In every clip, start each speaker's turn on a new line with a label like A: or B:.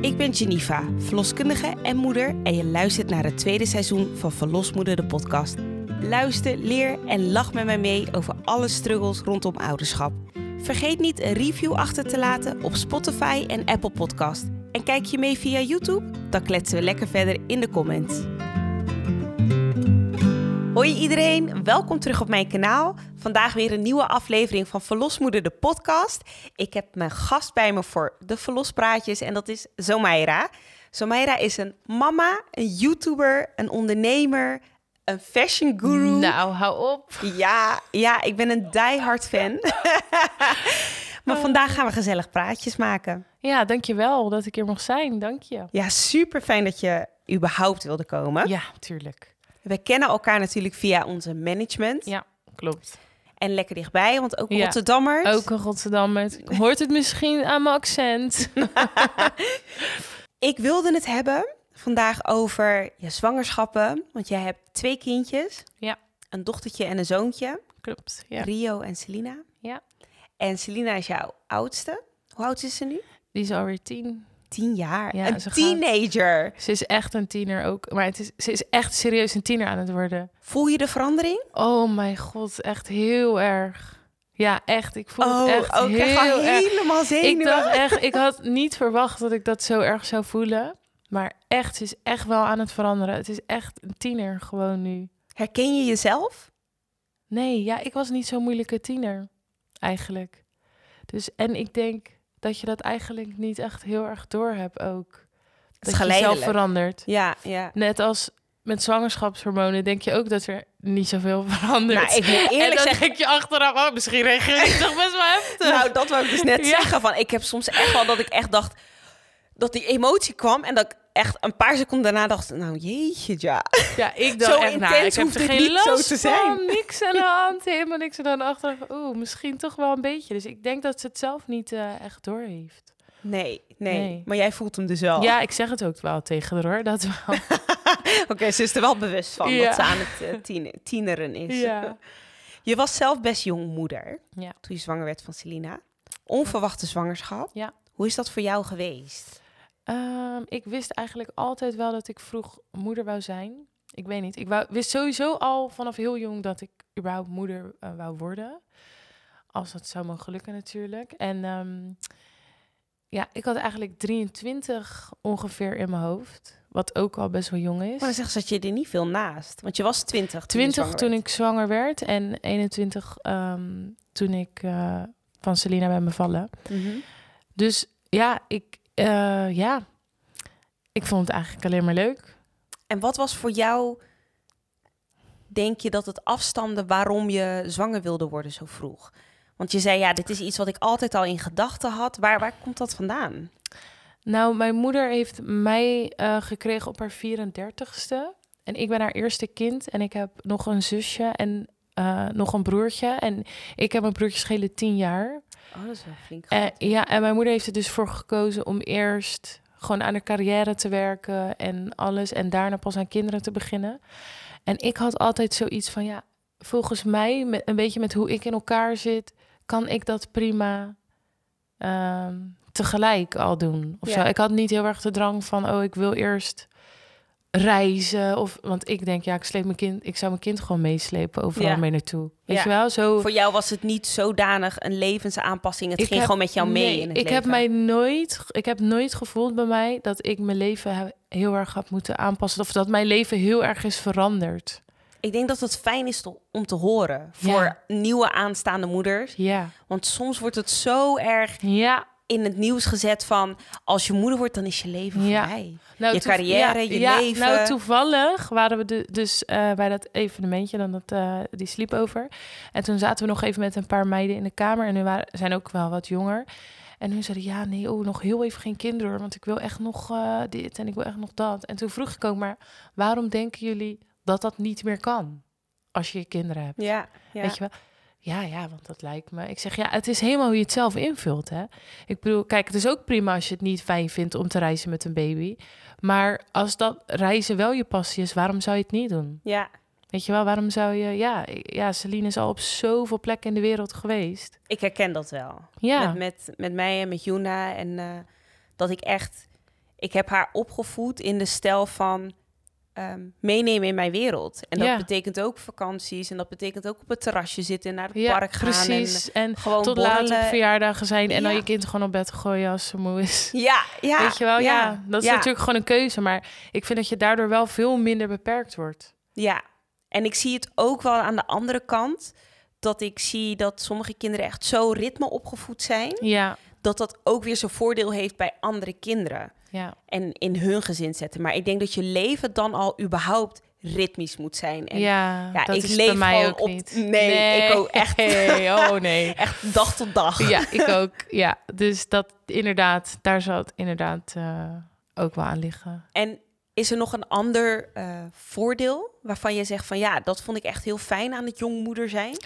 A: Ik ben Geneva, verloskundige en moeder en je luistert naar het tweede seizoen van Verlosmoeder de podcast. Luister, leer en lach met mij mee over alle struggles rondom ouderschap. Vergeet niet een review achter te laten op Spotify en Apple Podcast. En kijk je mee via YouTube? Dan kletsen we lekker verder in de comments. Hoi iedereen, welkom terug op mijn kanaal. Vandaag weer een nieuwe aflevering van Verlosmoeder de podcast. Ik heb mijn gast bij me voor de verlospraatjes en dat is Zomaira. Zomaira is een mama, een YouTuber, een ondernemer, een fashion guru.
B: Nou, hou op.
A: Ja, ja, ik ben een diehard fan. maar vandaag gaan we gezellig praatjes maken.
B: Ja, dankjewel dat ik hier mag zijn. Dank je.
A: Ja, super fijn dat je überhaupt wilde komen.
B: Ja, tuurlijk.
A: We kennen elkaar natuurlijk via onze management.
B: Ja, klopt.
A: En lekker dichtbij, want ook
B: Ja.
A: Rotterdammers.
B: Ook een Rotterdammer. Hoort het misschien aan mijn accent?
A: Ik wilde het hebben vandaag over je zwangerschappen. Want jij hebt twee kindjes.
B: Ja.
A: Een dochtertje en een zoontje.
B: Klopt, ja.
A: Rio en Selina.
B: Ja.
A: En Selina is jouw oudste. Hoe oud is ze nu?
B: Die is alweer tien.
A: Tien jaar.
B: Ja,
A: een
B: ze gaat-
A: teenager.
B: Ze is echt een tiener ook. Maar het is, ze is echt serieus een tiener aan het worden.
A: Voel je de verandering?
B: Oh mijn god, echt heel erg. Ja, echt. Ik voel het echt
A: oh, ik krijg al
B: heel erg.
A: helemaal
B: Ik
A: zenuwen.
B: dacht echt, ik had niet verwacht dat ik dat zo erg zou voelen. Maar echt, ze is echt wel aan het veranderen. Het is echt een tiener gewoon nu.
A: Herken je jezelf?
B: Nee, ja, ik was niet zo'n moeilijke tiener, eigenlijk. Dus, en ik denk dat je dat eigenlijk niet echt heel erg doorhebt ook.
A: is
B: Dat je zelf
A: geleidelijk.
B: verandert.
A: Ja, ja.
B: Net als met zwangerschapshormonen denk je ook dat er niet zoveel verandert.
A: Nou, ik moet
B: en
A: eerlijk
B: dan
A: zeggen...
B: denk je achteraf, oh, misschien reageer ik toch best wel heftig.
A: Nou, dat wou ik dus net
B: Ja.
A: zeggen. Van, ik heb soms echt wel dat ik echt dacht... Dat die emotie kwam en dat ik echt een paar seconden daarna dacht... Nou, jeetje, ja.
B: ja, ik dacht
A: zo
B: echt, nou,
A: intens
B: ik heb
A: hoeft
B: er
A: dit
B: geen
A: niet
B: last
A: zo te zijn.
B: van. Niks aan de hand, helemaal niks. En dan achteraf, oeh, misschien toch wel een beetje. Dus ik denk dat ze het zelf niet eh, echt doorheeft.
A: Nee, nee,
B: Nee.
A: Maar jij voelt hem dus wel.
B: Ja, ik zeg het ook wel tegen haar hoor, dat wel.
A: Oké, ze is er wel bewust van
B: Ja.
A: dat ze aan het eh, tien- tieneren is.
B: Ja.
A: Je was zelf best jong moeder
B: Ja.
A: toen je zwanger werd van Selina. Onverwachte zwangerschap.
B: Ja.
A: Hoe is dat voor jou geweest?
B: Ehm, ik wist eigenlijk altijd wel dat ik vroeg moeder wou zijn. Ik weet niet. Ik wou, wist sowieso al vanaf heel jong dat ik überhaupt moeder eh, wou worden. Als dat zou mogen lukken natuurlijk. En ehm, ja, ik had eigenlijk 23 ongeveer in mijn hoofd. Wat ook al best wel jong is.
A: Maar dan zegt ze dat je er niet veel naast. Want je was twintig.
B: 20 toen ik zwanger werd en 21 ehm, toen ik eh, van Selina ben bevallen.
A: Mhm.
B: Dus ja, ik, eh, ja, ik vond het eigenlijk alleen maar leuk.
A: En wat was voor jou, denk je, dat het afstamde waarom je zwanger wilde worden zo vroeg? Want je zei, ja, dit is iets wat ik altijd al in gedachten had. Waar, waar komt dat vandaan?
B: Nou, mijn moeder heeft mij eh, gekregen op haar 34ste. En ik ben haar eerste kind. En ik heb nog een zusje en eh, nog een broertje. En ik heb mijn broertje schelen 10 jaar.
A: Oh, dat is wel flink.
B: Eh, ja, en mijn moeder heeft er dus voor gekozen om eerst gewoon aan haar carrière te werken en alles. En daarna pas aan kinderen te beginnen. En ik had altijd zoiets van, ja, volgens mij, met, een beetje met hoe ik in elkaar zit, kan ik dat prima ehm, tegelijk al doen. Of
A: Ja.
B: zo. Ik had niet heel erg de drang van, oh, ik wil eerst reizen. Of, want ik denk, ja, ik, sleep mijn kind, ik zou mijn kind gewoon meeslepen overal
A: Ja.
B: mee naartoe. Weet
A: Ja.
B: je wel? Zo,
A: Voor jou was het niet zodanig een levensaanpassing. Het
B: Ik
A: ging
B: heb-
A: gewoon met jou mee
B: Nee,
A: in het
B: ik
A: leven.
B: Heb mij nooit, ik heb nooit gevoeld bij mij dat ik mijn leven he- heel erg had moeten aanpassen. Of dat mijn leven heel erg is veranderd.
A: Ik denk dat het fijn is to- om te horen voor
B: Ja.
A: nieuwe aanstaande moeders.
B: Ja.
A: Want soms wordt het zo erg
B: Ja.
A: in het nieuws gezet van... als je moeder wordt, dan is je leven
B: Ja.
A: voorbij.
B: Nou,
A: Je
B: toe-
A: carrière,
B: ja,
A: je
B: ja,
A: leven.
B: Nou, toevallig waren we de- dus eh, bij dat evenementje, dan dat, eh, die sleepover. En toen zaten we nog even met een paar meiden in de kamer. En nu waren, zijn ook wel wat jonger. En toen zeiden ja, nee, oh, nog heel even geen kinderen. hoor, Want ik wil echt nog eh, dit en ik wil echt nog dat. En toen vroeg ik ook, maar waarom denken jullie dat dat niet meer kan? Als je kinderen hebt.
A: Ja, ja.
B: Weet je wel? Ja, ja, want dat lijkt me. Ik zeg ja, het is helemaal hoe je het zelf invult. Hè? Ik bedoel, kijk, het is ook prima als je het niet fijn vindt om te reizen met een baby. Maar als dat reizen wel je passie is, waarom zou je het niet doen?
A: ja.
B: Weet je wel, waarom zou je... Ja, ik- ja, Celine is al op zoveel plekken in de wereld geweest.
A: Ik herken dat wel.
B: Ja,
A: Met, met, met mij en met Juna. En eh, dat ik echt... Ik heb haar opgevoed in de stijl van... ehm, meenemen in mijn wereld. En dat
B: Ja.
A: betekent ook vakanties. En dat betekent ook op het terrasje zitten en naar het
B: ja
A: park gaan. en eh,
B: precies. En,
A: gewoon
B: tot
A: borrelen.
B: laat op verjaardagen zijn en dan
A: Ja.
B: je kind gewoon op bed gooien als ze moe is.
A: Ja, ja.
B: Weet je wel, ja. Dat is
A: ja.
B: natuurlijk gewoon een keuze. Maar ik vind dat je daardoor wel veel minder beperkt wordt.
A: Ja, en ik zie het ook wel aan de andere kant. Dat ik zie dat sommige kinderen echt zo ritme opgevoed zijn.
B: Ja,
A: Dat dat ook weer zijn voordeel heeft bij andere kinderen.
B: ja.
A: En in hun gezin zetten. Maar ik denk dat je leven dan al überhaupt ritmisch moet zijn. En
B: ja,
A: ja,
B: dat
A: ik
B: is
A: leef
B: bij mij
A: gewoon
B: ook
A: op-
B: niet.
A: Nee, ik ook echt.
B: Nee, oh nee.
A: echt dag tot dag.
B: Ja, ik ook. Ja, dus dat inderdaad, daar zou het inderdaad eh, ook wel aan liggen.
A: En is er nog een ander eh, voordeel waarvan je zegt van ja, dat vond ik echt heel fijn aan het jongmoeder zijn?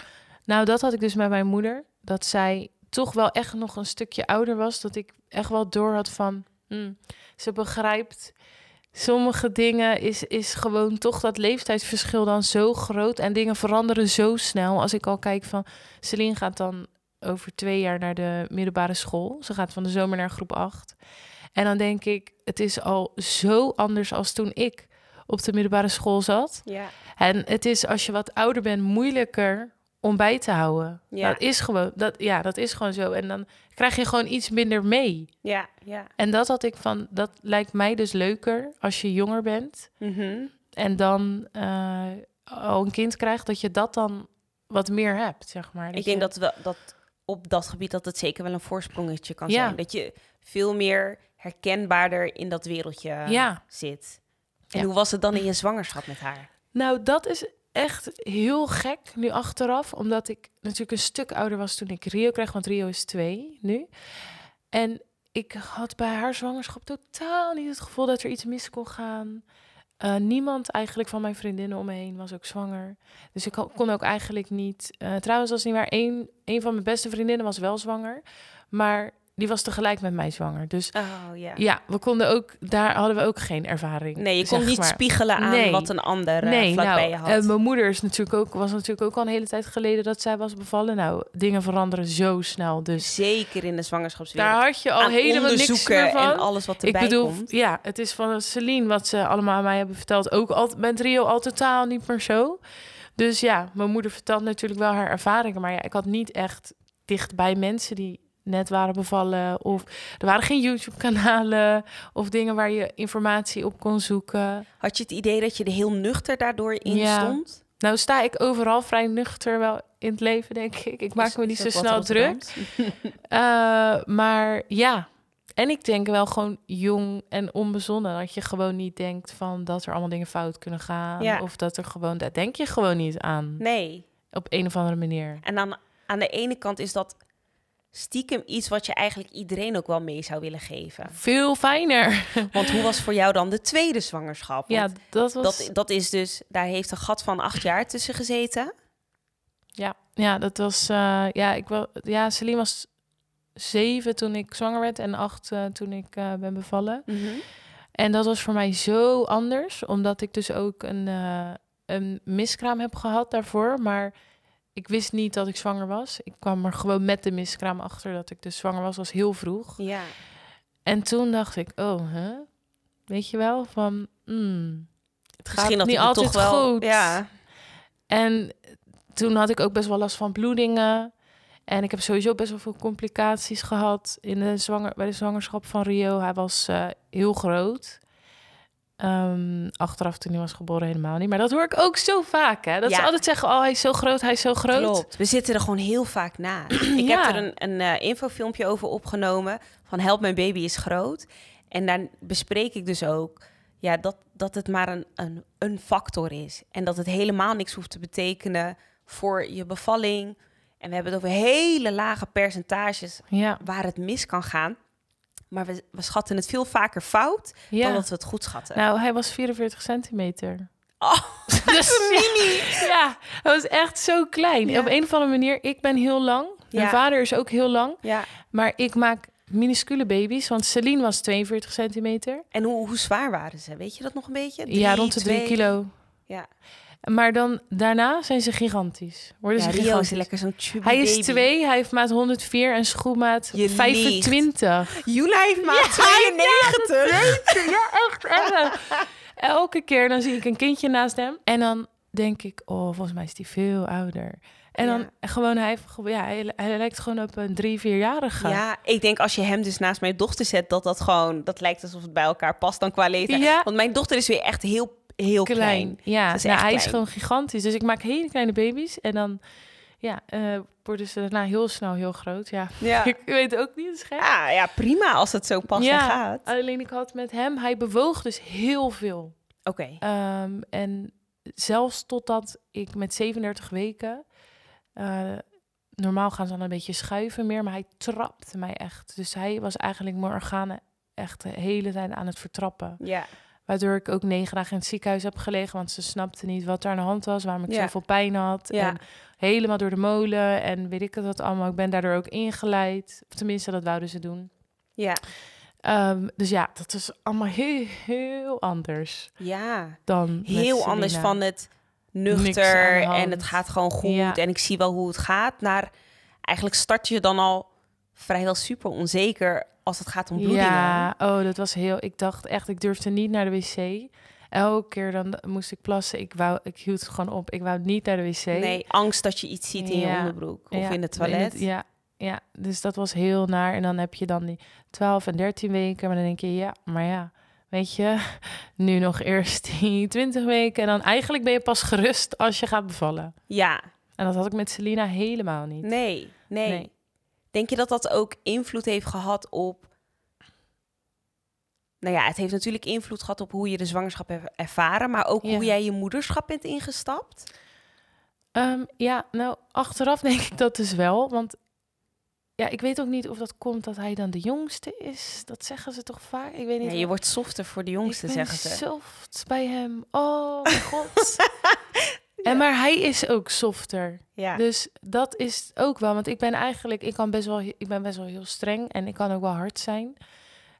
B: Nou, dat had ik dus met mijn moeder. Dat zij toch wel echt nog een stukje ouder was. Dat ik echt wel door had van... hmm, ze begrijpt sommige dingen. Is, is gewoon toch dat leeftijdsverschil dan zo groot. En dingen veranderen zo snel. Als ik al kijk van... Celine gaat dan over twee jaar naar de middelbare school. Ze gaat van de zomer naar groep acht. En dan denk ik, het is al zo anders als toen ik op de middelbare school zat.
A: Ja.
B: En het is als je wat ouder bent moeilijker om bij te houden.
A: Ja.
B: Dat is gewoon, dat, ja, dat is gewoon zo. En dan krijg je gewoon iets minder mee.
A: Ja, ja.
B: En dat had ik van, dat lijkt mij dus leuker als je jonger bent
A: Mhm.
B: en dan eh, al een kind krijgt, dat je dat dan wat meer hebt, zeg maar.
A: Ik denk
B: je-
A: dat, wel, dat op dat gebied dat het zeker wel een voorsprongetje kan
B: Ja.
A: zijn. Dat je veel meer herkenbaarder in dat wereldje
B: Ja.
A: zit. En
B: Ja.
A: hoe was het dan in je zwangerschap met haar?
B: Nou, dat is echt heel gek nu achteraf. Omdat ik natuurlijk een stuk ouder was toen ik Rio kreeg. Want Rio is twee nu. En ik had bij haar zwangerschap totaal niet het gevoel dat er iets mis kon gaan. Eh, niemand eigenlijk van mijn vriendinnen om me heen was ook zwanger. Dus ik ho- kon ook eigenlijk niet... eh, trouwens, dat is niet waar. Eén, één van mijn beste vriendinnen was wel zwanger. Maar die was tegelijk met mij zwanger. Dus
A: Oh ja.
B: ja, we konden ook... Daar hadden we ook geen ervaring.
A: Nee, je kon
B: zeg
A: niet
B: maar.
A: spiegelen aan
B: Nee.
A: wat een ander eh, vlak bij je had.
B: eh, mijn moeder is natuurlijk ook, was natuurlijk ook al een hele tijd geleden dat zij was bevallen. Nou, dingen veranderen zo snel. Dus
A: Zeker in de zwangerschapswereld.
B: daar had je al
A: aan
B: helemaal niks
A: onderzoeken
B: meer
A: en
B: van.
A: alles wat
B: Ik
A: erbij
B: bedoel,
A: komt.
B: ja, het is van Celine wat ze allemaal aan mij hebben verteld. Ook al, met Rio al totaal niet meer zo. Dus ja, mijn moeder vertelt natuurlijk wel haar ervaringen. Maar ja, ik had niet echt dicht bij mensen die net waren bevallen. Of er waren geen YouTube-kanalen of dingen waar je informatie op kon zoeken.
A: Had je het idee dat je er heel nuchter daardoor in
B: Ja.
A: stond?
B: Nou sta ik overal vrij nuchter wel in het leven, denk ik. Ik maak
A: Is-
B: me
A: is
B: niet zo
A: ook wat
B: snel druk.
A: Rotterdams?
B: Eh, maar ja, en ik denk wel gewoon jong en onbezonnen. Dat je gewoon niet denkt van dat er allemaal dingen fout kunnen gaan.
A: Ja.
B: Of dat er gewoon, daar denk je gewoon niet aan.
A: Nee.
B: Op een of andere manier.
A: En aan, aan de ene kant is dat stiekem iets wat je eigenlijk iedereen ook wel mee zou willen geven.
B: Veel fijner.
A: Want hoe was voor jou dan de tweede zwangerschap?
B: Ja,
A: Want
B: dat was...
A: dat, dat is dus, daar heeft een gat van acht jaar tussen gezeten.
B: Ja, ja dat was. eh, ja, ik wel, ja, Celine was zeven toen ik zwanger werd en acht eh, toen ik eh, ben bevallen. En dat was voor mij zo anders, omdat ik dus ook een, eh, een miskraam heb gehad daarvoor. Maar ik wist niet dat ik zwanger was. Ik kwam er gewoon met de miskraam achter dat ik dus zwanger was, was heel vroeg.
A: Ja.
B: En toen dacht ik, oh, hè? weet je wel, van hmm, het gaat
A: Misschien dat
B: niet
A: ik het
B: altijd
A: toch wel.
B: goed.
A: Ja.
B: En toen had ik ook best wel last van bloedingen. En ik heb sowieso best wel veel complicaties gehad in de zwanger, bij de zwangerschap van Rio. Hij was eh, heel groot. Ehm, achteraf toen hij was geboren helemaal niet. Maar dat hoor ik ook zo vaak. Hè? Dat ze
A: Ja.
B: altijd zeggen, oh hij is zo groot, hij is zo groot.
A: Klopt. We zitten er gewoon heel vaak na. Ik
B: Ja.
A: heb er een, een eh, infofilmpje over opgenomen van Help mijn baby is groot. En daar bespreek ik dus ook ja, dat, dat het maar een, een, een factor is. En dat het helemaal niks hoeft te betekenen voor je bevalling. En we hebben het over hele lage percentages
B: Ja,
A: waar het mis kan gaan. Maar we, we schatten het veel vaker fout dan
B: ja.
A: dat we het goed schatten.
B: Nou, hij was 44 centimeter.
A: Oh,
B: Dus, ja, hij was echt zo klein.
A: Ja.
B: Op een of andere manier, ik ben heel lang. Mijn
A: Ja.
B: vader is ook heel lang.
A: ja.
B: Maar ik maak minuscule baby's, want Celine was 42 centimeter.
A: En hoe, hoe zwaar waren ze? Weet je dat nog een beetje?
B: ja, rond de 3
A: twee?
B: kilo.
A: Ja.
B: Maar dan daarna zijn ze gigantisch. Worden
A: Ja,
B: ze
A: Rio
B: gigantisch.
A: is lekker zo'n chubby
B: Hij is
A: baby.
B: twee, hij heeft maat 104 en schoenmaat
A: Je
B: 25.
A: Jula heeft maat 92.
B: Ja, echt erg. Elke keer dan zie ik een kindje naast hem. En dan denk ik, oh, volgens mij is die veel ouder. En
A: Ja.
B: dan gewoon, hij, heeft ge- ja, hij, hij lijkt gewoon op een drie, vierjarige.
A: Ja, ik denk als je hem dus naast mijn dochter zet, dat dat gewoon, dat lijkt alsof het bij elkaar past dan qua leeftijd.
B: Ja.
A: Want mijn dochter is weer echt heel, heel klein.
B: Ja,
A: Dat is
B: nou,
A: echt
B: hij is
A: klein.
B: gewoon gigantisch. Dus ik maak hele kleine baby's. En dan ja, eh, worden ze daarna heel snel heel groot. Ja,
A: Ja. Ah,
B: ik weet ook niet, het is gek.
A: Ja, ja, prima als het zo past en gaat. Oké.
B: alleen ik had met hem, hij bewoog dus heel veel. Ehm, en zelfs totdat ik met 37 weken. eh, normaal gaan ze dan een beetje schuiven meer, maar hij trapte mij echt. Dus hij was eigenlijk mijn organen echt de hele tijd aan het vertrappen.
A: Ja.
B: Waardoor ik ook negen dagen in het ziekenhuis heb gelegen, want ze snapte niet wat er aan de hand was, waarom ik
A: Ja.
B: zoveel pijn had.
A: Ja.
B: En helemaal door de molen en weet ik het wat allemaal. Ik ben daardoor ook ingeleid. Of tenminste, dat wouden ze doen.
A: Ja.
B: Ehm, dus ja, dat is allemaal heel, heel anders
A: Ja.
B: dan. met
A: Heel anders
B: Selena.
A: van het
B: Niks aan
A: nuchter
B: de hand.
A: en het gaat gewoon goed
B: Ja.
A: en ik zie wel hoe het gaat. Naar eigenlijk start je dan al vrijwel super onzeker als het gaat om bloedingen.
B: Ja, oh, dat was heel. Ik dacht echt, ik durfde niet naar de wc. Elke keer dan moest ik plassen. Ik, wou, ik hield het gewoon op. Ik wou niet naar de wc.
A: Nee, angst dat je iets ziet in je
B: Ja.
A: onderbroek of
B: Ja,
A: in het toilet.
B: ja, ja, dus dat was heel naar. En dan heb je dan die 12 en 13 weken. Maar dan denk je, ja, maar ja, weet je, nu nog eerst die 20 weken. En dan eigenlijk ben je pas gerust als je gaat bevallen.
A: ja.
B: En dat had ik met Selina helemaal niet.
A: Nee, nee,
B: Nee.
A: Denk je dat dat ook invloed heeft gehad op... Nou ja, het heeft natuurlijk invloed gehad op hoe je de zwangerschap hebt ervaren... maar ook
B: Ja.
A: hoe jij je moederschap bent ingestapt.
B: Ehm, ja, nou, achteraf denk ik dat dus wel. Want ja, ik weet ook niet of dat komt dat hij dan de jongste is. Dat zeggen ze toch vaak? Ik weet niet.
A: Ja, je wordt softer voor de jongste,
B: ik ben
A: zeggen ze.
B: soft bij hem. Oh, mijn god. En maar hij is ook softer.
A: Ja.
B: Dus dat is ook wel. Want ik ben eigenlijk, ik, kan best wel, ik ben best wel heel streng en ik kan ook wel hard zijn.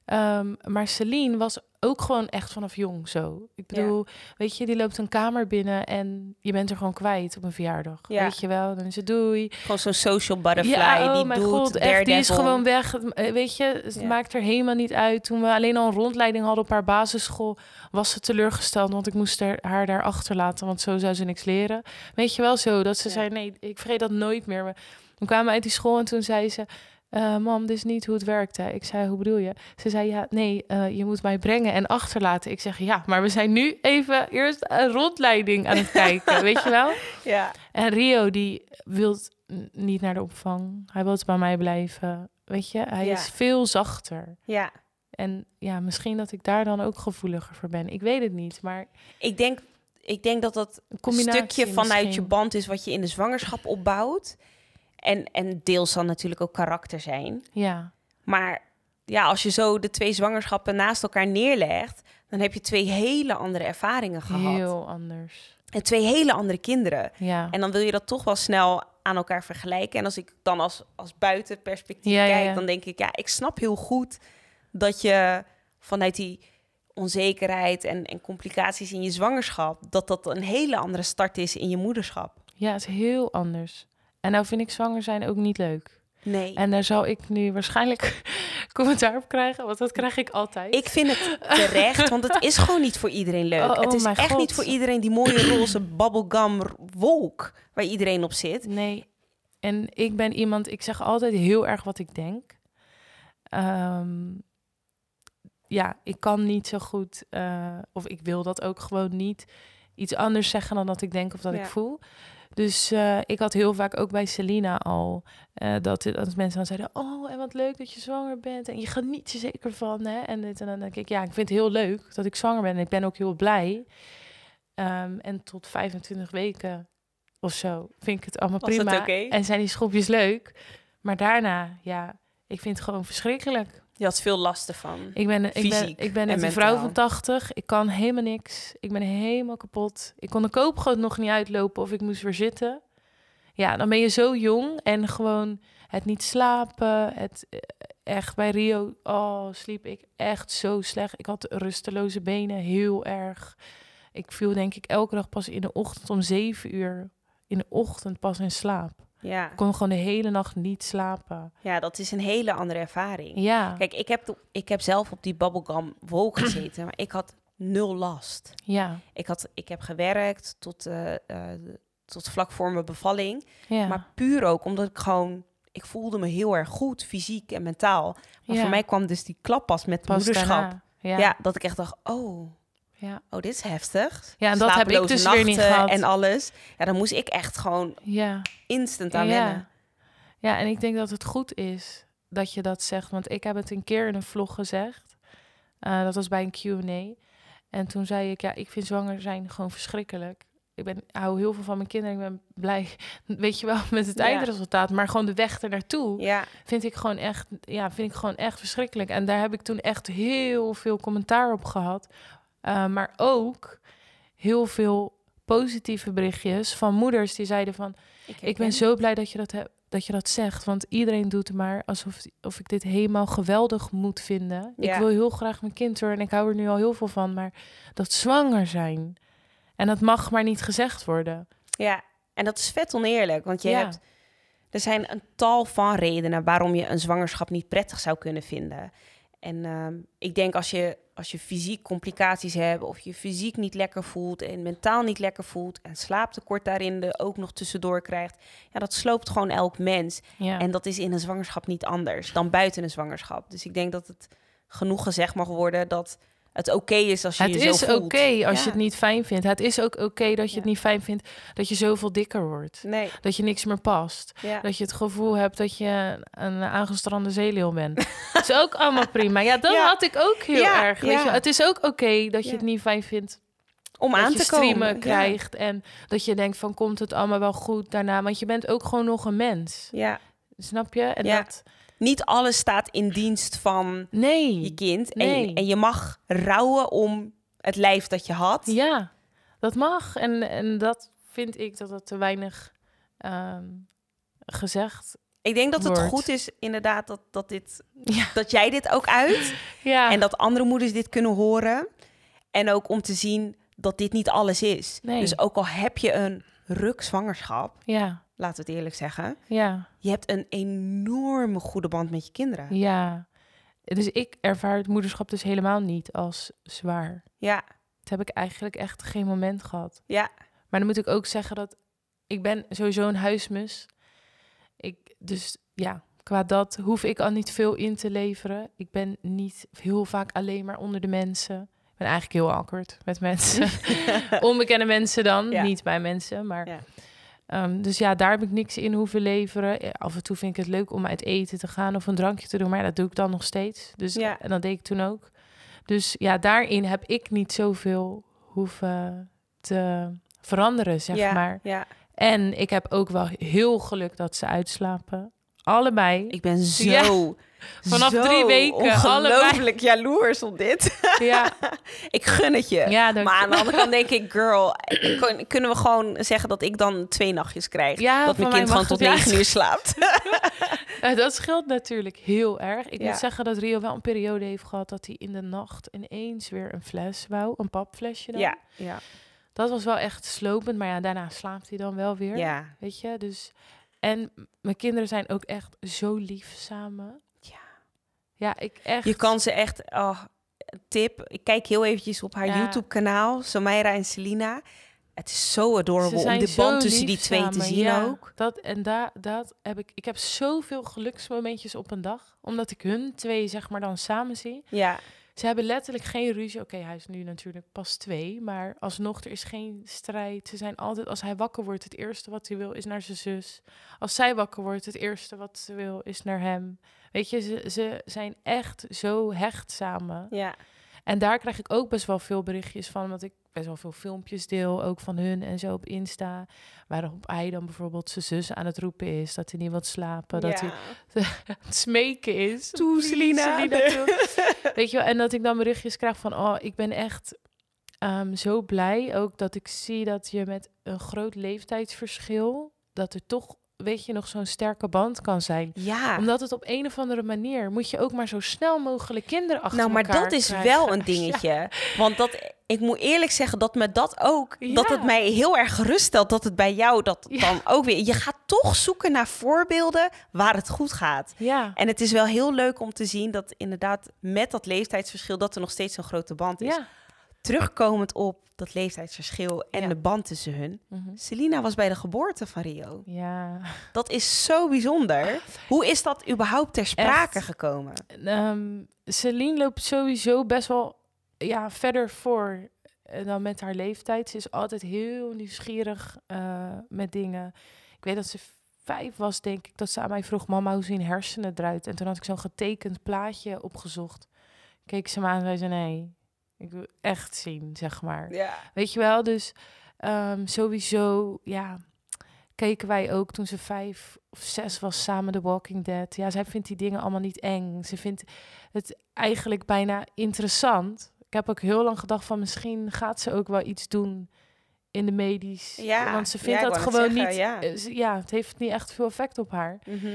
B: Ehm, maar Celine was ook gewoon echt vanaf jong zo. Ik bedoel, weet je, die loopt een kamer binnen en je bent er gewoon kwijt op een verjaardag.
A: Ja.
B: Weet je wel, dan is het doei.
A: Gewoon zo'n social butterfly,
B: ja, oh
A: die
B: mijn
A: doet
B: god, echt, die is
A: daredevil.
B: gewoon weg. Het- eh, Weet je, het
A: Ja.
B: maakt er helemaal niet uit. Toen we alleen al een rondleiding hadden op haar basisschool, was ze teleurgesteld, want ik moest haar, haar daar achterlaten, want zo zou ze niks leren. Weet je wel zo, dat ze
A: Ja.
B: zei, nee, ik vergeet dat nooit meer. We, we kwamen uit die school en toen zei ze, eh, mam, dit is niet hoe het werkte. Ik zei, hoe bedoel je? Ze zei, ja, nee, eh, je moet mij brengen en achterlaten. Ik zeg, ja, maar we zijn nu even eerst een rondleiding aan het kijken, weet je wel?
A: Ja.
B: En Rio, die wil niet naar de opvang. Hij wil bij mij blijven. Weet je, hij
A: Ja.
B: is veel zachter.
A: ja.
B: En ja, misschien dat ik daar dan ook gevoeliger voor ben. Ik weet het niet, maar
A: Ik denk, ik denk dat dat
B: een
A: een
B: combinatie
A: stukje vanuit
B: misschien.
A: je band is... wat je in de zwangerschap opbouwt. En, en deels zal natuurlijk ook karakter zijn.
B: Ja,
A: Maar ja, als je zo de twee zwangerschappen naast elkaar neerlegt, dan heb je twee hele andere ervaringen gehad.
B: heel anders.
A: En twee hele andere kinderen.
B: Ja.
A: En dan wil je dat toch wel snel aan elkaar vergelijken. En als ik dan als, als buitenperspectief
B: Ja, ja,
A: kijk,
B: ja.
A: dan denk ik, ja, ik snap heel goed dat je vanuit die onzekerheid en, en complicaties in je zwangerschap, dat dat een hele andere start is in je moederschap.
B: ja, het is heel anders. En nou vind ik zwanger zijn ook niet leuk.
A: Nee.
B: En daar zal ik nu waarschijnlijk commentaar op krijgen, want dat krijg ik altijd.
A: Ik vind het terecht, want het is gewoon niet voor iedereen leuk.
B: Oh, oh
A: het is
B: mijn
A: echt
B: God.
A: niet voor iedereen die mooie roze bubblegum r- wolk waar iedereen op zit.
B: Nee. En ik ben iemand, ik zeg altijd heel erg wat ik denk. Ehm, ja, ik kan niet zo goed, eh, of ik wil dat ook gewoon niet, iets anders zeggen dan dat ik denk of dat
A: Ja.
B: ik voel. Dus eh, ik had heel vaak ook bij Selina al eh, dat, dat mensen dan zeiden: Oh, en wat leuk dat je zwanger bent. En je geniet je zeker van. Hè? En, dit, en dan denk ik: Ja, ik vind het heel leuk dat ik zwanger ben. En ik ben ook heel blij. Ehm, en tot 25 weken of zo vind ik het allemaal
A: Was dat
B: prima.
A: oké?
B: En zijn die schopjes leuk. Maar daarna, ja, ik vind het gewoon verschrikkelijk.
A: Je had veel last ervan.
B: Ik ben, ik ben,
A: Fysiek
B: ik
A: en
B: ben een
A: mentaal.
B: vrouw van 80. Ik kan helemaal niks. Ik ben helemaal kapot. Ik kon de koopgoot nog niet uitlopen of ik moest weer zitten. Ja, dan ben je zo jong en gewoon het niet slapen. Het eh, echt bij Rio. Oh, sliep ik echt zo slecht. Ik had rusteloze benen, heel erg. Ik viel denk ik elke dag pas in de ochtend om zeven uur in de ochtend pas in slaap.
A: Ja.
B: Ik kon gewoon de hele nacht niet slapen.
A: ja, dat is een hele andere ervaring.
B: Ja,
A: Kijk, ik heb, to- ik heb zelf op die bubblegum wolk gezeten, maar ik had nul last.
B: ja,
A: Ik, had, ik heb gewerkt tot, eh, eh, tot vlak voor mijn bevalling.
B: ja.
A: Maar puur ook omdat ik gewoon... Ik voelde me heel erg goed, fysiek en mentaal. Maar
B: Ja.
A: voor mij kwam dus die klap pas met
B: Pas
A: moederschap.
B: daarna. Ja.
A: Ja. dat ik echt dacht, oh,
B: Ja.
A: oh, dit is heftig.
B: Ja, en dat heb ik
A: Slapeloze
B: dus weer niet
A: nachten
B: gehad.
A: En alles. Ja, dan moest ik echt gewoon
B: ja.
A: instant aan
B: Ja.
A: wennen.
B: Ja, en ik denk dat het goed is dat je dat zegt. Want ik heb het een keer in een vlog gezegd. Eh, dat was bij een QA. En toen zei ik, ja, ik vind zwanger zijn gewoon verschrikkelijk. Ik ben, hou heel veel van mijn kinderen. Ik ben blij, weet je wel, met het
A: Ja.
B: eindresultaat. Maar gewoon de weg er naartoe
A: Ja,
B: vind ik gewoon echt, ja, vind ik gewoon echt verschrikkelijk. En daar heb ik toen echt heel veel commentaar op gehad. Eh, maar ook heel veel positieve berichtjes van moeders die zeiden van... Ik ben
A: herken-
B: zo blij dat je dat, hebt, dat je dat zegt. Want iedereen doet maar alsof of ik dit helemaal geweldig moet vinden. Ik
A: Ja.
B: wil heel graag mijn kind hoor. En ik hou er nu al heel veel van. Maar dat zwanger zijn. En dat mag maar niet gezegd worden.
A: Ja, en dat is vet oneerlijk. Want je
B: Ja.
A: hebt... Er zijn een tal van redenen waarom je een zwangerschap niet prettig zou kunnen vinden. En ehm, ik denk als je, als je fysiek complicaties hebt... of je fysiek niet lekker voelt en mentaal niet lekker voelt... en slaaptekort daarin er ook nog tussendoor krijgt... ja, dat sloopt gewoon elk mens.
B: Ja.
A: En dat is in een zwangerschap niet anders dan buiten een zwangerschap. Dus ik denk dat het genoeg gezegd mag worden dat het oké is als je
B: het
A: je zo
B: is oké
A: voelt.
B: als
A: Ja.
B: je het niet fijn vindt. Het is ook oké dat je het
A: Ja.
B: niet fijn vindt dat je zoveel dikker wordt.
A: Nee,
B: Dat je niks meer past.
A: ja.
B: Dat je het gevoel hebt dat je een aangestrande zeeleeuw bent. Dat is ook allemaal prima. Ja, dat
A: Ja.
B: had ik ook heel
A: Ja,
B: erg. Weet
A: ja.
B: je. Het is ook oké dat je
A: Ja.
B: het niet fijn vindt
A: om aan
B: dat je
A: te komen.
B: streamen
A: Ja.
B: krijgt en dat je denkt van komt het allemaal wel goed daarna, want je bent ook gewoon nog een mens,
A: Ja.
B: snap je? En
A: Ja.
B: dat
A: Niet alles staat in dienst van je
B: nee,
A: kind.
B: Nee.
A: En, en je mag rouwen om het lijf dat je had.
B: ja, dat mag en en dat vind ik dat dat te weinig ehm, gezegd.
A: Ik denk dat het
B: Wordt.
A: goed is inderdaad dat, dat, dit,
B: Ja,
A: dat jij dit ook uit.
B: ja.
A: En dat andere moeders dit kunnen horen. En ook om te zien dat dit niet alles is.
B: Nee.
A: Dus ook al heb je een ruk zwangerschap...
B: ja,
A: laten we het eerlijk zeggen.
B: ja,
A: Je hebt een enorme goede band met je kinderen.
B: ja. Dus ik ervaar het moederschap dus helemaal niet als zwaar.
A: Ja,
B: Dat heb ik eigenlijk echt geen moment gehad.
A: ja,
B: Maar dan moet ik ook zeggen dat ik ben sowieso een huismus. Ik, dus ja, qua dat hoef ik al niet veel in te leveren. Ik ben niet heel vaak alleen maar onder de mensen. Ik ben eigenlijk heel awkward met mensen. Onbekende mensen dan,
A: Ja.
B: niet bij mensen. Maar,
A: Ja.
B: Ehm, dus ja, daar heb ik niks in hoeven leveren. Eh, Af en toe vind ik het leuk om uit eten te gaan of een drankje te doen. Maar ja, dat doe ik dan nog steeds. Dus,
A: Ja.
B: En dat deed ik toen ook. Dus ja, daarin heb ik niet zoveel hoeven te veranderen, zeg
A: ja,
B: maar.
A: Ja.
B: En ik heb ook wel heel geluk dat ze uitslapen. Allebei.
A: Ik ben zo.
B: Ja, vanaf
A: zo
B: drie weken,
A: Ongelooflijk jaloers op dit.
B: Ja,
A: ik gun het je.
B: ja, dank
A: maar
B: je.
A: aan de andere kant denk ik, girl, ik kon- kunnen we gewoon zeggen dat ik dan twee nachtjes krijg?
B: Ja,
A: dat mijn
B: van
A: kind gewoon
B: mij mag
A: tot
B: het, ja.
A: negen uur slaapt.
B: Eh, dat scheelt natuurlijk heel erg. Ik
A: Ja.
B: moet zeggen dat Rio wel een periode heeft gehad dat hij in de nacht ineens weer een fles wou. Een papflesje dan.
A: Ja, ja,
B: Dat was wel echt slopend, maar ja, daarna slaapt hij dan wel weer.
A: ja.
B: Weet je, dus... En m- mijn kinderen zijn ook echt zo lief samen.
A: Ja.
B: Ja, ik echt...
A: Je kan ze echt... Oh, tip, ik kijk heel eventjes op haar
B: Ja.
A: YouTube-kanaal, Samira en Selina. Het is zo
B: Ze
A: adorable om
B: zijn
A: de
B: zo
A: band tussen
B: lief
A: die twee te
B: samen,
A: zien
B: ja.
A: ook.
B: Dat, en daar dat heb ik... Ik heb zoveel geluksmomentjes op een dag. Omdat ik hun twee, zeg maar, dan samen zie.
A: Ja,
B: Ze hebben letterlijk geen ruzie. Oké, hij is nu natuurlijk pas twee, maar alsnog, er is geen strijd. Ze zijn altijd, als hij wakker wordt, het eerste wat hij wil is naar zijn zus. Als zij wakker wordt, het eerste wat ze wil is naar hem. Weet je, ze, ze zijn echt zo hecht samen.
A: ja,
B: En daar krijg ik ook best wel veel berichtjes van, want ik best wel veel filmpjes deel, ook van hun en zo op Insta. Waarop hij dan bijvoorbeeld zijn zus aan het roepen is, dat hij niet wil slapen, dat hij aan het smeken is.
A: Toe, Selina.
B: toe. Weet je wel, en dat ik dan berichtjes krijg van... oh, ik ben echt ehm, zo blij ook dat ik zie dat je met een groot leeftijdsverschil... dat er toch, weet je, nog zo'n sterke band kan zijn.
A: Ja,
B: Omdat het op een of andere manier... moet je ook maar zo snel mogelijk kinderen achter
A: nou, maar
B: elkaar
A: dat is
B: krijgen.
A: wel een dingetje. Want dat, ik moet eerlijk zeggen dat me dat ook, dat
B: Ja.
A: het mij heel erg gerust stelt dat het bij jou dat
B: Ja.
A: dan ook weer. Je gaat toch zoeken naar voorbeelden waar het goed gaat.
B: Ja.
A: En het is wel heel leuk om te zien dat inderdaad met dat leeftijdsverschil dat er nog steeds zo'n grote band is.
B: Ja.
A: Terugkomend op dat leeftijdsverschil en
B: Ja.
A: de band tussen hun.
B: Mhm.
A: Selina was bij de geboorte van Rio.
B: Ja.
A: Dat is zo bijzonder. Hoe is dat überhaupt ter sprake gekomen?
B: Ehm Celine loopt sowieso best wel ja, verder voor eh, dan met haar leeftijd. Ze is altijd heel nieuwsgierig eh, met dingen. Ik weet dat ze vijf was, denk ik, dat ze aan mij vroeg... mama, hoe zien hersenen eruit? En toen had ik zo'n getekend plaatje opgezocht. Keek ze me aan en zei ze, nee, ik wil echt zien, zeg maar.
A: Ja.
B: Weet je wel, dus ehm, sowieso, ja, keken wij ook toen ze vijf of zes was samen The Walking Dead. Ja, zij vindt die dingen allemaal niet eng. Ze vindt het eigenlijk bijna interessant. Ik heb ook heel lang gedacht van misschien gaat ze ook wel iets doen in de medisch.
A: Ja,
B: want ze
A: ja,
B: vindt
A: ik
B: dat
A: wou net
B: gewoon
A: zeggen, ja.
B: niet. eh, ze- ja, het heeft niet echt veel effect op haar.
A: Mhm.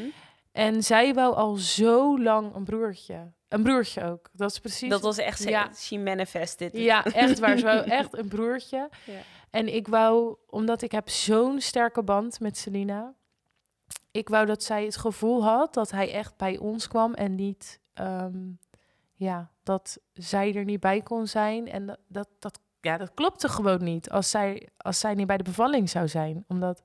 B: En zij wou al zo lang een broertje. Een broertje ook. Dat is precies
A: Dat was echt, ze-
B: Ja.
A: she manifested. it.
B: ja, echt waar. Ze wou echt een broertje.
A: Ja.
B: En ik wou, omdat ik heb zo'n sterke band met Selina. Ik wou dat zij het gevoel had dat hij echt bij ons kwam en niet, ehm, ja, dat zij er niet bij kon zijn. En dat, dat, dat, ja, dat klopte gewoon niet als zij, als zij niet bij de bevalling zou zijn. Omdat,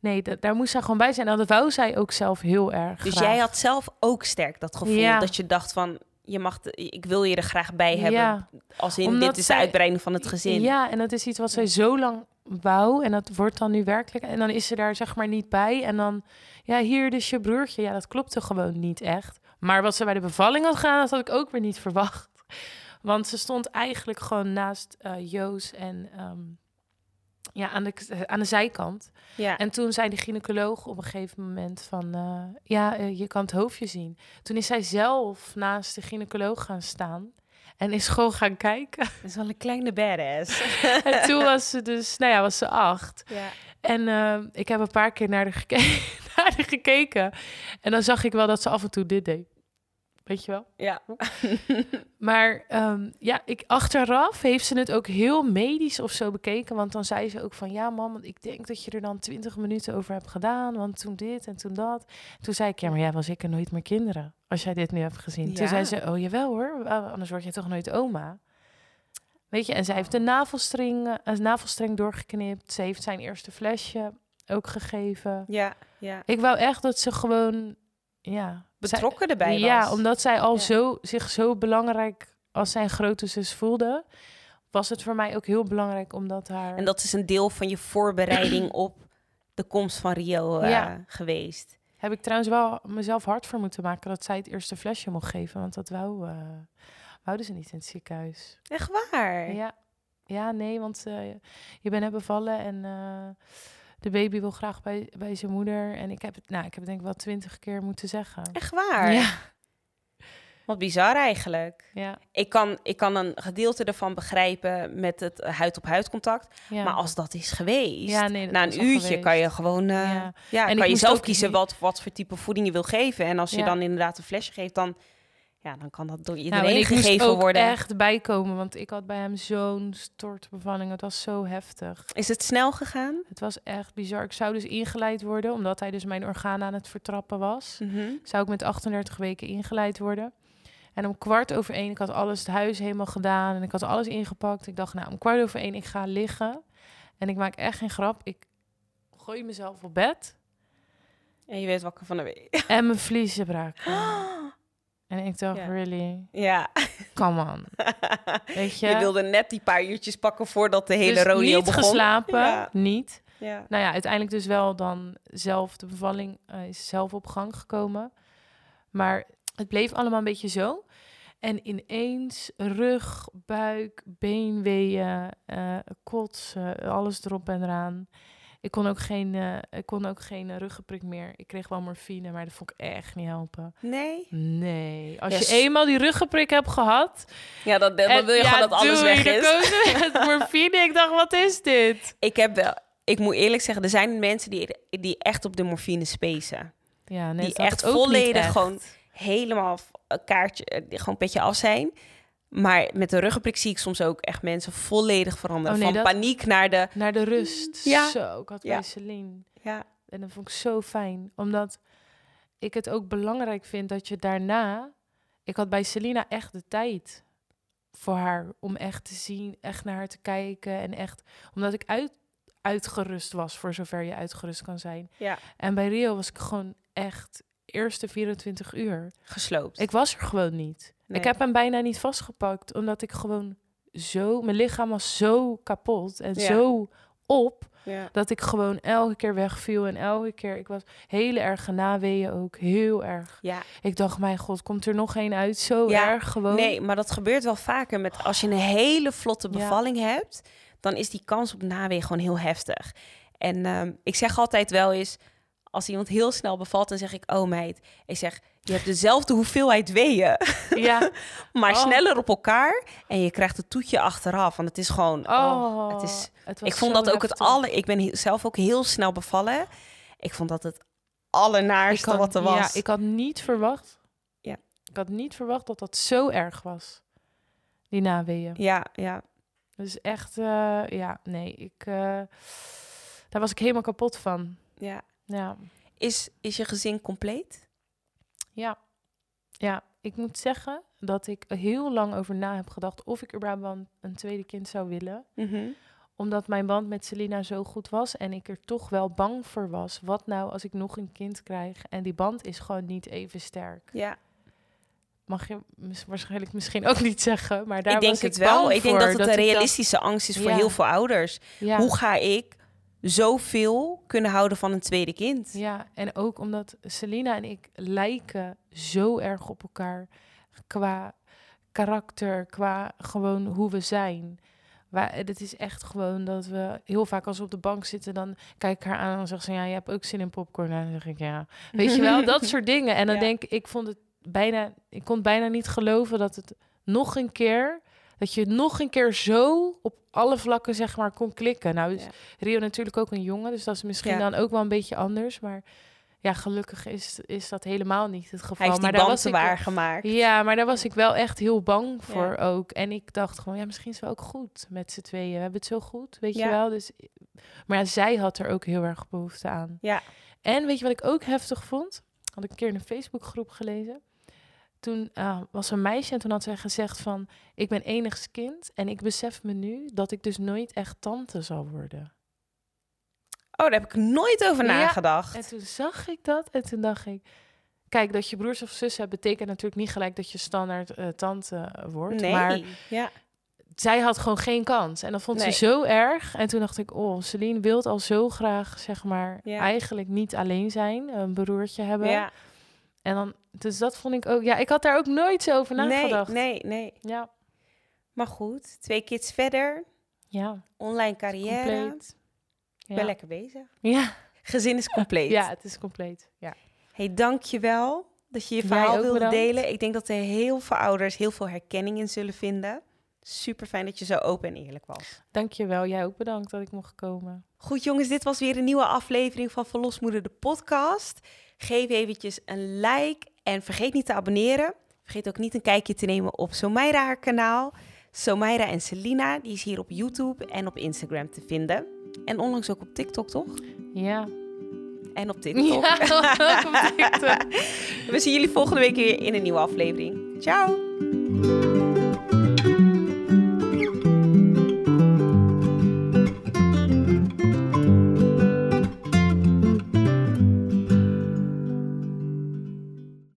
B: nee, da- daar moest zij gewoon bij zijn. En dat wou zij ook zelf heel erg.
A: Dus
B: graag.
A: jij had zelf ook sterk dat gevoel
B: Ja.
A: dat je dacht van, je mag, de- ik wil je er graag bij hebben.
B: Ja.
A: Als in,
B: Omdat
A: dit is
B: zij-
A: de uitbreiding van het gezin.
B: Ja, en dat is iets wat zij zo lang wou. En dat wordt dan nu werkelijk. En dan is ze daar zeg maar niet bij. En dan, ja, hier dus je broertje. Ja, dat klopte gewoon niet echt. Maar wat ze bij de bevalling had gedaan, dat had ik ook weer niet verwacht. Want ze stond eigenlijk gewoon naast eh, Joos en ehm, ja, aan, de, k- eh, aan de zijkant.
A: Ja.
B: En toen zei de gynaecoloog op een gegeven moment van... eh, ja, eh, je kan het hoofdje zien. Toen is zij zelf naast de gynaecoloog gaan staan... en is gewoon gaan kijken.
A: Dat is wel een kleine badass.
B: En toen was ze dus, nou ja, was ze acht.
A: Ja.
B: En ehm, ik heb een paar keer naar haar, geke- naar haar gekeken. En dan zag ik wel dat ze af en toe dit deed. Weet je wel?
A: Ja.
B: Maar ehm, ja, ik, achteraf heeft ze het ook heel medisch of zo bekeken. Want dan zei ze ook van, ja mam, want ik denk dat je er dan twintig minuten over hebt gedaan. Want toen dit en toen dat. Toen zei ik, ja, maar jij was zeker nooit meer kinderen. Als jij dit nu hebt gezien.
A: Ja.
B: Toen zei ze, oh jawel hoor, eh, anders word je toch nooit oma. Weet je, en zij heeft een navelstreng, eh, een navelstreng doorgeknipt. Ze heeft zijn eerste flesje ook gegeven.
A: Ja. ja.
B: Ik wou echt dat ze gewoon, ja... zij-
A: Betrokken erbij
B: ja,
A: was.
B: omdat zij al
A: Ja.
B: zo, zich zo belangrijk als zijn grote zus voelde, was het voor mij ook heel belangrijk omdat haar.
A: En dat is een deel van je voorbereiding op de komst van Rio eh,
B: Ja.
A: geweest.
B: Heb ik trouwens wel mezelf hard voor moeten maken dat zij het eerste flesje mocht geven, want dat wou, eh wouden ze niet in het ziekenhuis.
A: Echt waar?
B: Ja, ja nee, want eh, je bent net bevallen en eh, de baby wil graag bij, bij zijn moeder. En ik heb het, nou, ik heb het denk ik wel twintig keer moeten zeggen.
A: Echt waar?
B: Ja,
A: Wat bizar eigenlijk.
B: ja,
A: Ik kan, ik kan een gedeelte ervan begrijpen met het eh, huid-op-huid contact.
B: ja.
A: Maar als dat is geweest,
B: Ja, nee, dat
A: na
B: was
A: een
B: al
A: uurtje
B: geweest.
A: kan je gewoon... eh,
B: Ja.
A: ja.
B: En ik
A: kan je
B: moest
A: zelf
B: ook-
A: kiezen wat, wat voor type voeding je wil geven. En als je
B: Ja. Nou,
A: dan inderdaad een flesje geeft, dan, ja, dan kan dat door iedereen
B: en ik moest
A: gegeven
B: ook
A: worden.
B: echt bijkomen, want ik had bij hem zo'n stortbevalling. Het was zo heftig.
A: Is het snel gegaan?
B: Het was echt bizar. Ik zou dus ingeleid worden, omdat hij dus mijn orgaan aan het vertrappen
A: Mm.
B: was. Zou ik met 38 weken ingeleid worden. En om kwart over één, ik had alles het huis helemaal gedaan en ik had alles ingepakt. Ik dacht, nou, om kwart over één, ik ga liggen. En ik maak echt geen grap. Ik gooi mezelf op bed
A: En je werd wakker van de week.
B: en mijn vliezen braken. En ik dacht,
A: Ja.
B: really?
A: Ja.
B: Come on. Weet je?
A: Je wilde net die paar uurtjes pakken voordat de hele
B: dus
A: rodeo
B: niet
A: begon.
B: geslapen,
A: Ja.
B: niet.
A: Ja.
B: Nou ja, uiteindelijk dus wel dan zelf, de bevalling eh, is zelf op gang gekomen. Maar het bleef allemaal een beetje zo. En ineens rug, buik, beenweeën, eh kotsen, alles erop en eraan. Ik kon ook geen, eh, ik kon ook geen eh, ruggenprik meer. Ik kreeg wel morfine, maar dat vond ik echt niet helpen.
A: Nee.
B: Nee, als
A: Ja, s-
B: je eenmaal die ruggenprik hebt gehad...
A: Ja, dat, dan
B: en-
A: wil je
B: ja,
A: gewoon dat alles
B: doei,
A: weg
B: dan
A: is.
B: komen ze met morfine. Ik dacht, wat is dit?
A: Ik heb wel... Ik moet eerlijk zeggen, er zijn mensen die, die echt op de morfine spacen.
B: Ja, nee,
A: die
B: dat had
A: echt
B: ik ook niet
A: volledig
B: echt.
A: eh, gewoon helemaal v- een kaartje, eh, die gewoon een beetje af zijn. Maar met een ruggenprik zie ik soms ook echt mensen volledig veranderen.
B: Oh, nee,
A: van
B: dat-
A: paniek naar de...
B: Naar de rust.
A: Ja.
B: Zo, ik had
A: Ja.
B: bij Celine.
A: Ja,
B: En dat vond ik zo fijn. Omdat ik het ook belangrijk vind dat je daarna... Ik had bij Selina echt de tijd voor haar. Om echt te zien, echt naar haar te kijken. En echt... Omdat ik uit, uitgerust was, voor zover je uitgerust kan zijn.
A: ja.
B: En bij Rio was ik gewoon echt eerste 24 uur.
A: gesloopt.
B: Ik was er gewoon niet.
A: Nee.
B: Ik heb hem bijna niet vastgepakt, omdat ik gewoon zo... Mijn lichaam was zo kapot en
A: Ja.
B: zo op...
A: Ja.
B: Dat ik gewoon elke keer wegviel en elke keer... Ik was heel erg genaweeën ook, heel erg.
A: ja.
B: Ik dacht, mijn god, komt er nog één uit? Zo
A: Ja,
B: erg gewoon.
A: Nee, maar dat gebeurt wel vaker. Met, als je een hele vlotte
B: Ja.
A: bevalling hebt, dan is die kans op nawee gewoon heel heftig. En ehm, ik zeg altijd wel eens, als iemand heel snel bevalt, dan zeg ik, oh meid, ik zeg, je hebt dezelfde hoeveelheid weeën,
B: Ja,
A: maar
B: Oh.
A: sneller op elkaar. En je krijgt het toetje achteraf, want het is gewoon, oh,
B: oh,
A: het is-
B: het was
A: ik vond
B: zo
A: dat ook het
B: heftig.
A: alle, ik ben he- zelf ook heel snel bevallen. Ik vond dat het
B: Ik
A: allernaarste
B: had,
A: wat er was.
B: Ja, ik had niet verwacht.
A: Ja.
B: Ik had niet verwacht dat dat zo erg was. Die naweeën.
A: ja, ja,
B: Dus echt, eh, ja, nee, ik... eh, daar was ik helemaal kapot van.
A: ja.
B: Ja.
A: Is, is je gezin compleet?
B: Ja. Ja, ik moet zeggen dat ik er heel lang over na heb gedacht of ik überhaupt wel een- een tweede kind zou willen. Omdat mijn band met Selina zo goed was en ik er toch wel bang voor was. Wat nou als ik nog een kind krijg en die band is gewoon niet even sterk.
A: Ja.
B: Mag je mis- waarschijnlijk misschien ook niet zeggen, maar daar
A: ik denk
B: was ik
A: het wel.
B: bang
A: Ik denk
B: voor,
A: dat het een
B: ik dacht,
A: realistische angst is voor
B: Ja.
A: heel veel ouders.
B: ja,
A: Hoe ga ik zoveel kunnen houden van een tweede kind?
B: Ja, en ook omdat Selina en ik lijken zo erg op elkaar qua karakter, qua gewoon hoe we zijn. Waar, het is echt gewoon dat we heel vaak als we op de bank zitten, dan kijk ik haar aan en dan zegt ze, ja, je hebt ook zin in popcorn. En dan zeg ik, ja, weet je wel, dat soort dingen. En dan
A: Ja.
B: denk ik, ik vond het bijna, ik kon bijna niet geloven dat het nog een keer, dat je nog een keer zo op alle vlakken, zeg maar, kon klikken. Nou is
A: Ja.
B: Rio natuurlijk ook een jongen, dus dat is misschien
A: Ja.
B: dan ook wel een beetje anders. Maar ja, gelukkig is, is dat helemaal niet het geval.
A: Hij heeft die
B: maar daar
A: band
B: was
A: te
B: ik wel-
A: waar gemaakt.
B: Ja, maar daar was ik wel echt heel bang voor ook. En ik dacht gewoon, ja, misschien is het wel ook goed met z'n tweeën. We hebben het zo goed, weet
A: Ja.
B: je wel. Dus, maar ja, zij had er ook heel erg behoefte aan.
A: Ja.
B: En weet je wat ik ook heftig vond? Had ik een keer in een Facebookgroep gelezen. Toen eh, was er een meisje en toen had zij gezegd van... ik ben enigst kind en ik besef me nu dat ik dus nooit echt tante zal worden.
A: Oh, daar heb ik nooit over
B: Ja.
A: nagedacht.
B: En toen zag ik dat en toen dacht ik... Kijk, dat je broers of zussen hebt, betekent natuurlijk niet gelijk dat je standaard eh, tante eh, wordt.
A: Nee.
B: Maar
A: Ja.
B: zij had gewoon geen kans. En dat vond
A: Nee.
B: ze zo erg. En toen dacht ik, oh, Celine wil al zo graag, zeg maar,
A: Ja.
B: eigenlijk niet alleen zijn. Een broertje hebben.
A: ja.
B: En dan, dus dat vond ik ook... Ja, ik had daar ook nooit zo over
A: Nee,
B: nagedacht.
A: nee, nee.
B: Ja,
A: Maar goed, twee kids verder,
B: ja,
A: online carrière.
B: compleet.
A: Ik ben
B: Ja.
A: lekker bezig.
B: Ja.
A: Gezin is compleet.
B: ja, het is compleet. Ja.
A: Hey, dankjewel dat je je
B: Jij
A: verhaal
B: ook
A: wilde
B: bedankt.
A: delen. Ik denk dat er heel veel ouders heel veel herkenning in zullen vinden. Super fijn dat je zo open en eerlijk was.
B: Dankjewel. Jij ook bedankt dat ik mocht komen.
A: Goed jongens, dit was weer een nieuwe aflevering van Verlosmoeder de podcast. Geef eventjes een like en vergeet niet te abonneren. Vergeet ook niet een kijkje te nemen op Somaira haar kanaal. Somaira en Selina, die is hier op YouTube en op Instagram te vinden. En onlangs ook op TikTok, toch?
B: Ja.
A: En op TikTok.
B: Ja, ook op TikTok.
A: We zien jullie volgende week weer in een nieuwe aflevering. Ciao!